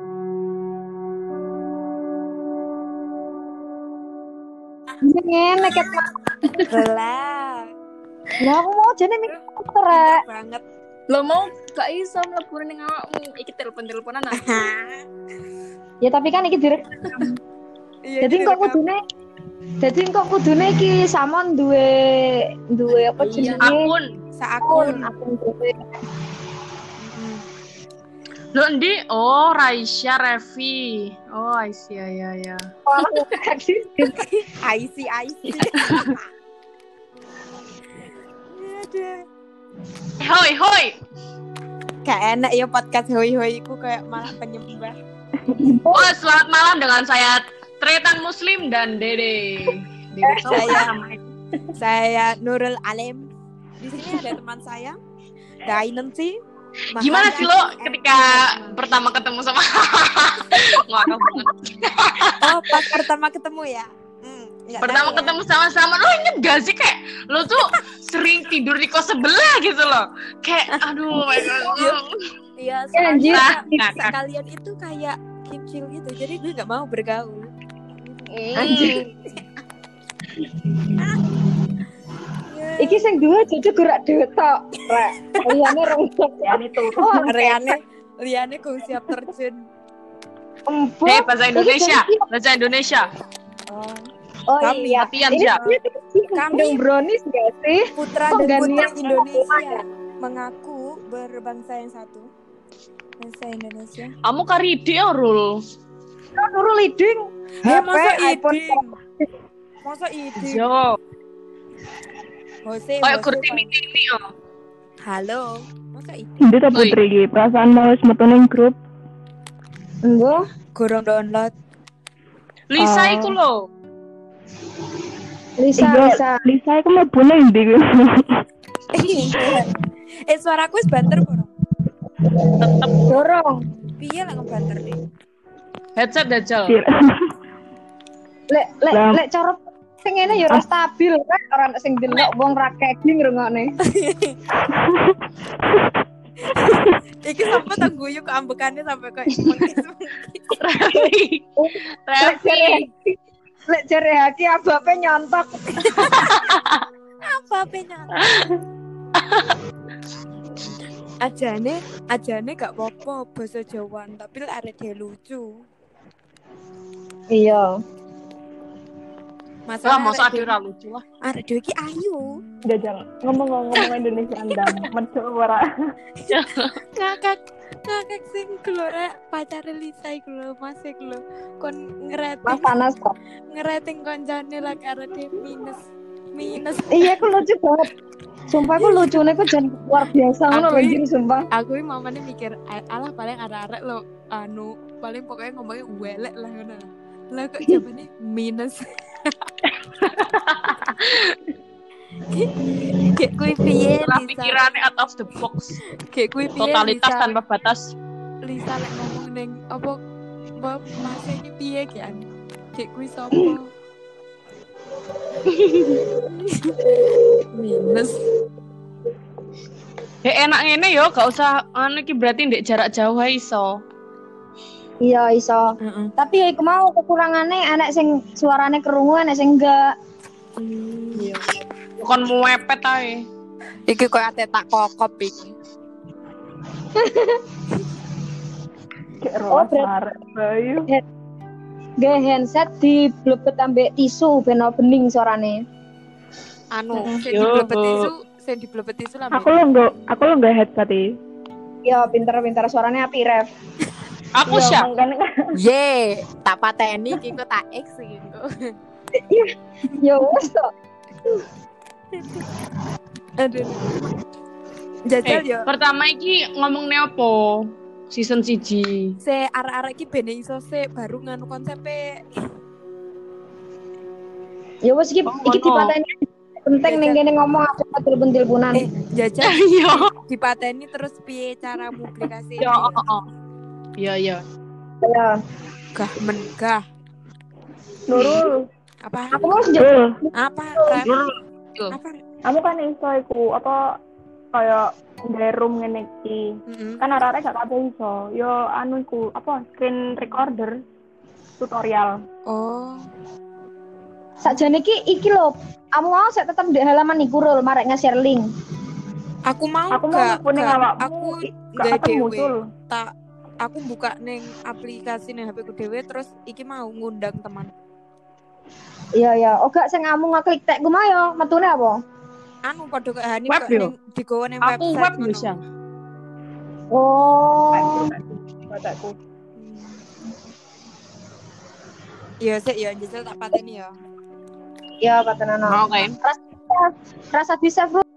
Ngenek ket mah. Belah. Lah aku mau jane mikir rek. Banget. Lo mau gak iso mlebu ning awakmu. Iki telepon-teleponan ah. Ya tapi kan iki direk. Iya, Jadi gitu kok rekam. kudune Jadi kok kudune iki samon duwe duwe apa jenenge? Iya, akun. Seakun. akun duwe. Mm. Lo ndi? Oh, Raisya Revi. Oh, I see. Ya, ya, ya. Oh, IC IC. Iya. Ada. Eh, Hoi, hoi. Gak enak ya podcast hoi hoi ku kayak malah penyembah. Oh, selamat malam dengan saya Tretan Muslim dan Dede. Dede Saya. saya. Saya Nurul Alim. Di sini ada teman saya. Dainen sih. ya. Mahana. Gimana sih lo ketika pertama ketemu sama ngakak banget. Oh, pas pertama ketemu ya? Hmm, nggak Pertama tahu ya. ketemu sama-sama lo inget gak sih kayak lo tuh sering tidur di kos sebelah gitu loh. Kayak aduh my god. Iya, Ya, anjir. sekalian, Nah, nah. sekalian itu kayak kimcil gitu. Jadi gue nggak mau bergaul. Mm. Anjir. Hmm. Iki sing duwe jadi gerak dhewe tok. Rek. Liyane rungkut ya. Oh, Riane, Riane kok siap terjun. empuk. Deh, Eh, bahasa Iki Indonesia, jadi- bahasa Indonesia. Oh, Oh Kami, iya. latihan, Ini Zak. kandung brownies gak sih? putra Kok dan putri gantian Indonesia mengaku berbangsa yang satu. Bangsa Indonesia. Kamu karide ya, Rul. Kan nurul leading. Eh, HP, masa iPhone. iding? Masa iding? Yo. Jose, Kayak Jose, kurti Pak. ini yo. Halo. Masa iding? Itu tuh Oi. putri iki, perasaan mau wis metu ning grup. Enggak. Gorong download. Lisa Oh. iku lo. Lisa, Iya, Lisa. Lisa iku mlebu ning ndi kuwi? eh, suaraku wis banter gorong. Dorong. Piye lah ngebanter deh. Headset dajal. Sir. Lek lek Lah. lek cara sing ngene ya ora stabil kan ora ana sing delok wong ra kegi ngrungokne. Iki sampe tak guyu ke ambekannya sampai kayak mengis-mengis. Revi. Lek Revi. jare lek jare haki abape nyontok. apa penya ajane ajane gak apa-apa basa Jawaan tapi lek arek dhewe lucu Iya. Wah, masalah masa arek ada dhewe- ora lucu ah. arek dhewe iki ayu Jajal, ngomong-ngomong Indonesia Anda, metu ora. ngakak ngakak sing gelora pacar Lisa iku lho Mas iku lho kon Mas ngerating panas kok. ngerating koncane lek arek dhewe minus minus Iya, aku lucu banget. Sumpah aku lucunya aku jan luar biasa ngono Aku lho i- anjir sumpah. aku iki mamane mikir "A- alah paling arek-arek lo anu paling pokoknya ngomongnya welek lah ngono lah lah kok jawabannya minus kayak kui piye Lah Lisa pikirannya out of the box. kayak kui piye Totalitas Lisa- tanpa batas. Lisa lek ngomong neng apa apa masih ini piye kan kayak kui sopo minus Eh enak ngene yo, gak usah anu iki berarti ndek jarak jauh ae iso. Iya iso. Tapi ya iku mau kekurangannya anak sing suarane kerungu anak sing enggak. Iya. Kon muepet ae. iki kok ate tak kokop iki Kayak Oh, rolas berarti- arek bayu. Nggak handset di blebet ambek tisu ben bening suarane. anu sing Yo. diblebet tisu sing diblebet tisu lah Aku lo nggak, aku lo nggak headset iki. Iya, pinter-pinter suarane api ref. Aku Iya, siap. makanya kan Ye, tak pateni iki kok tak X iki kok. Yo wes tok. Aduh. Jajal Eh, yo, pertama iki ngomong opo? Season siji. se arek-arek iki bene iso se baru nganu konsepe. Ya wes iki Oh, iki ngono. dipateni penting ning kene ngomong aku telpon-telponan. Eh, jajal Yo. dipateni terus piye cara publikasi? Yo. oh, oh. Yo yo. Ya. gah menggah. Nurul, Apa? Aku mau sejak Nurul, Apa? Ref? Apa? kamu kan iso iku apa kayak dari room ngene iki. Mm-mm. Kan arek-arek gak kabeh iso. Yo anu iku apa screen recorder tutorial. Oh. Sakjane iki iki lho, kamu mau saya tetep di halaman iku rul marek nge-share link. Aku mau Aku mau gak, kuning gak, awakmu. aku i- nggak Gak ketemu dewe. tul. tak aku buka neng aplikasi neng HP ku dewe terus iki mau ngundang teman. Iya ya, oga sing kamu ngeklik tag ku mau ya, metune apa? Anu padha kayak Hani Web kok yo. neng digowo neng Aku website web ngono. yo, Syang. Oh. Bataku. Hmm. Iya sik ya jajal tak pateni ya. Iya, patenan. Mau kan? Rasa bisa, Bro.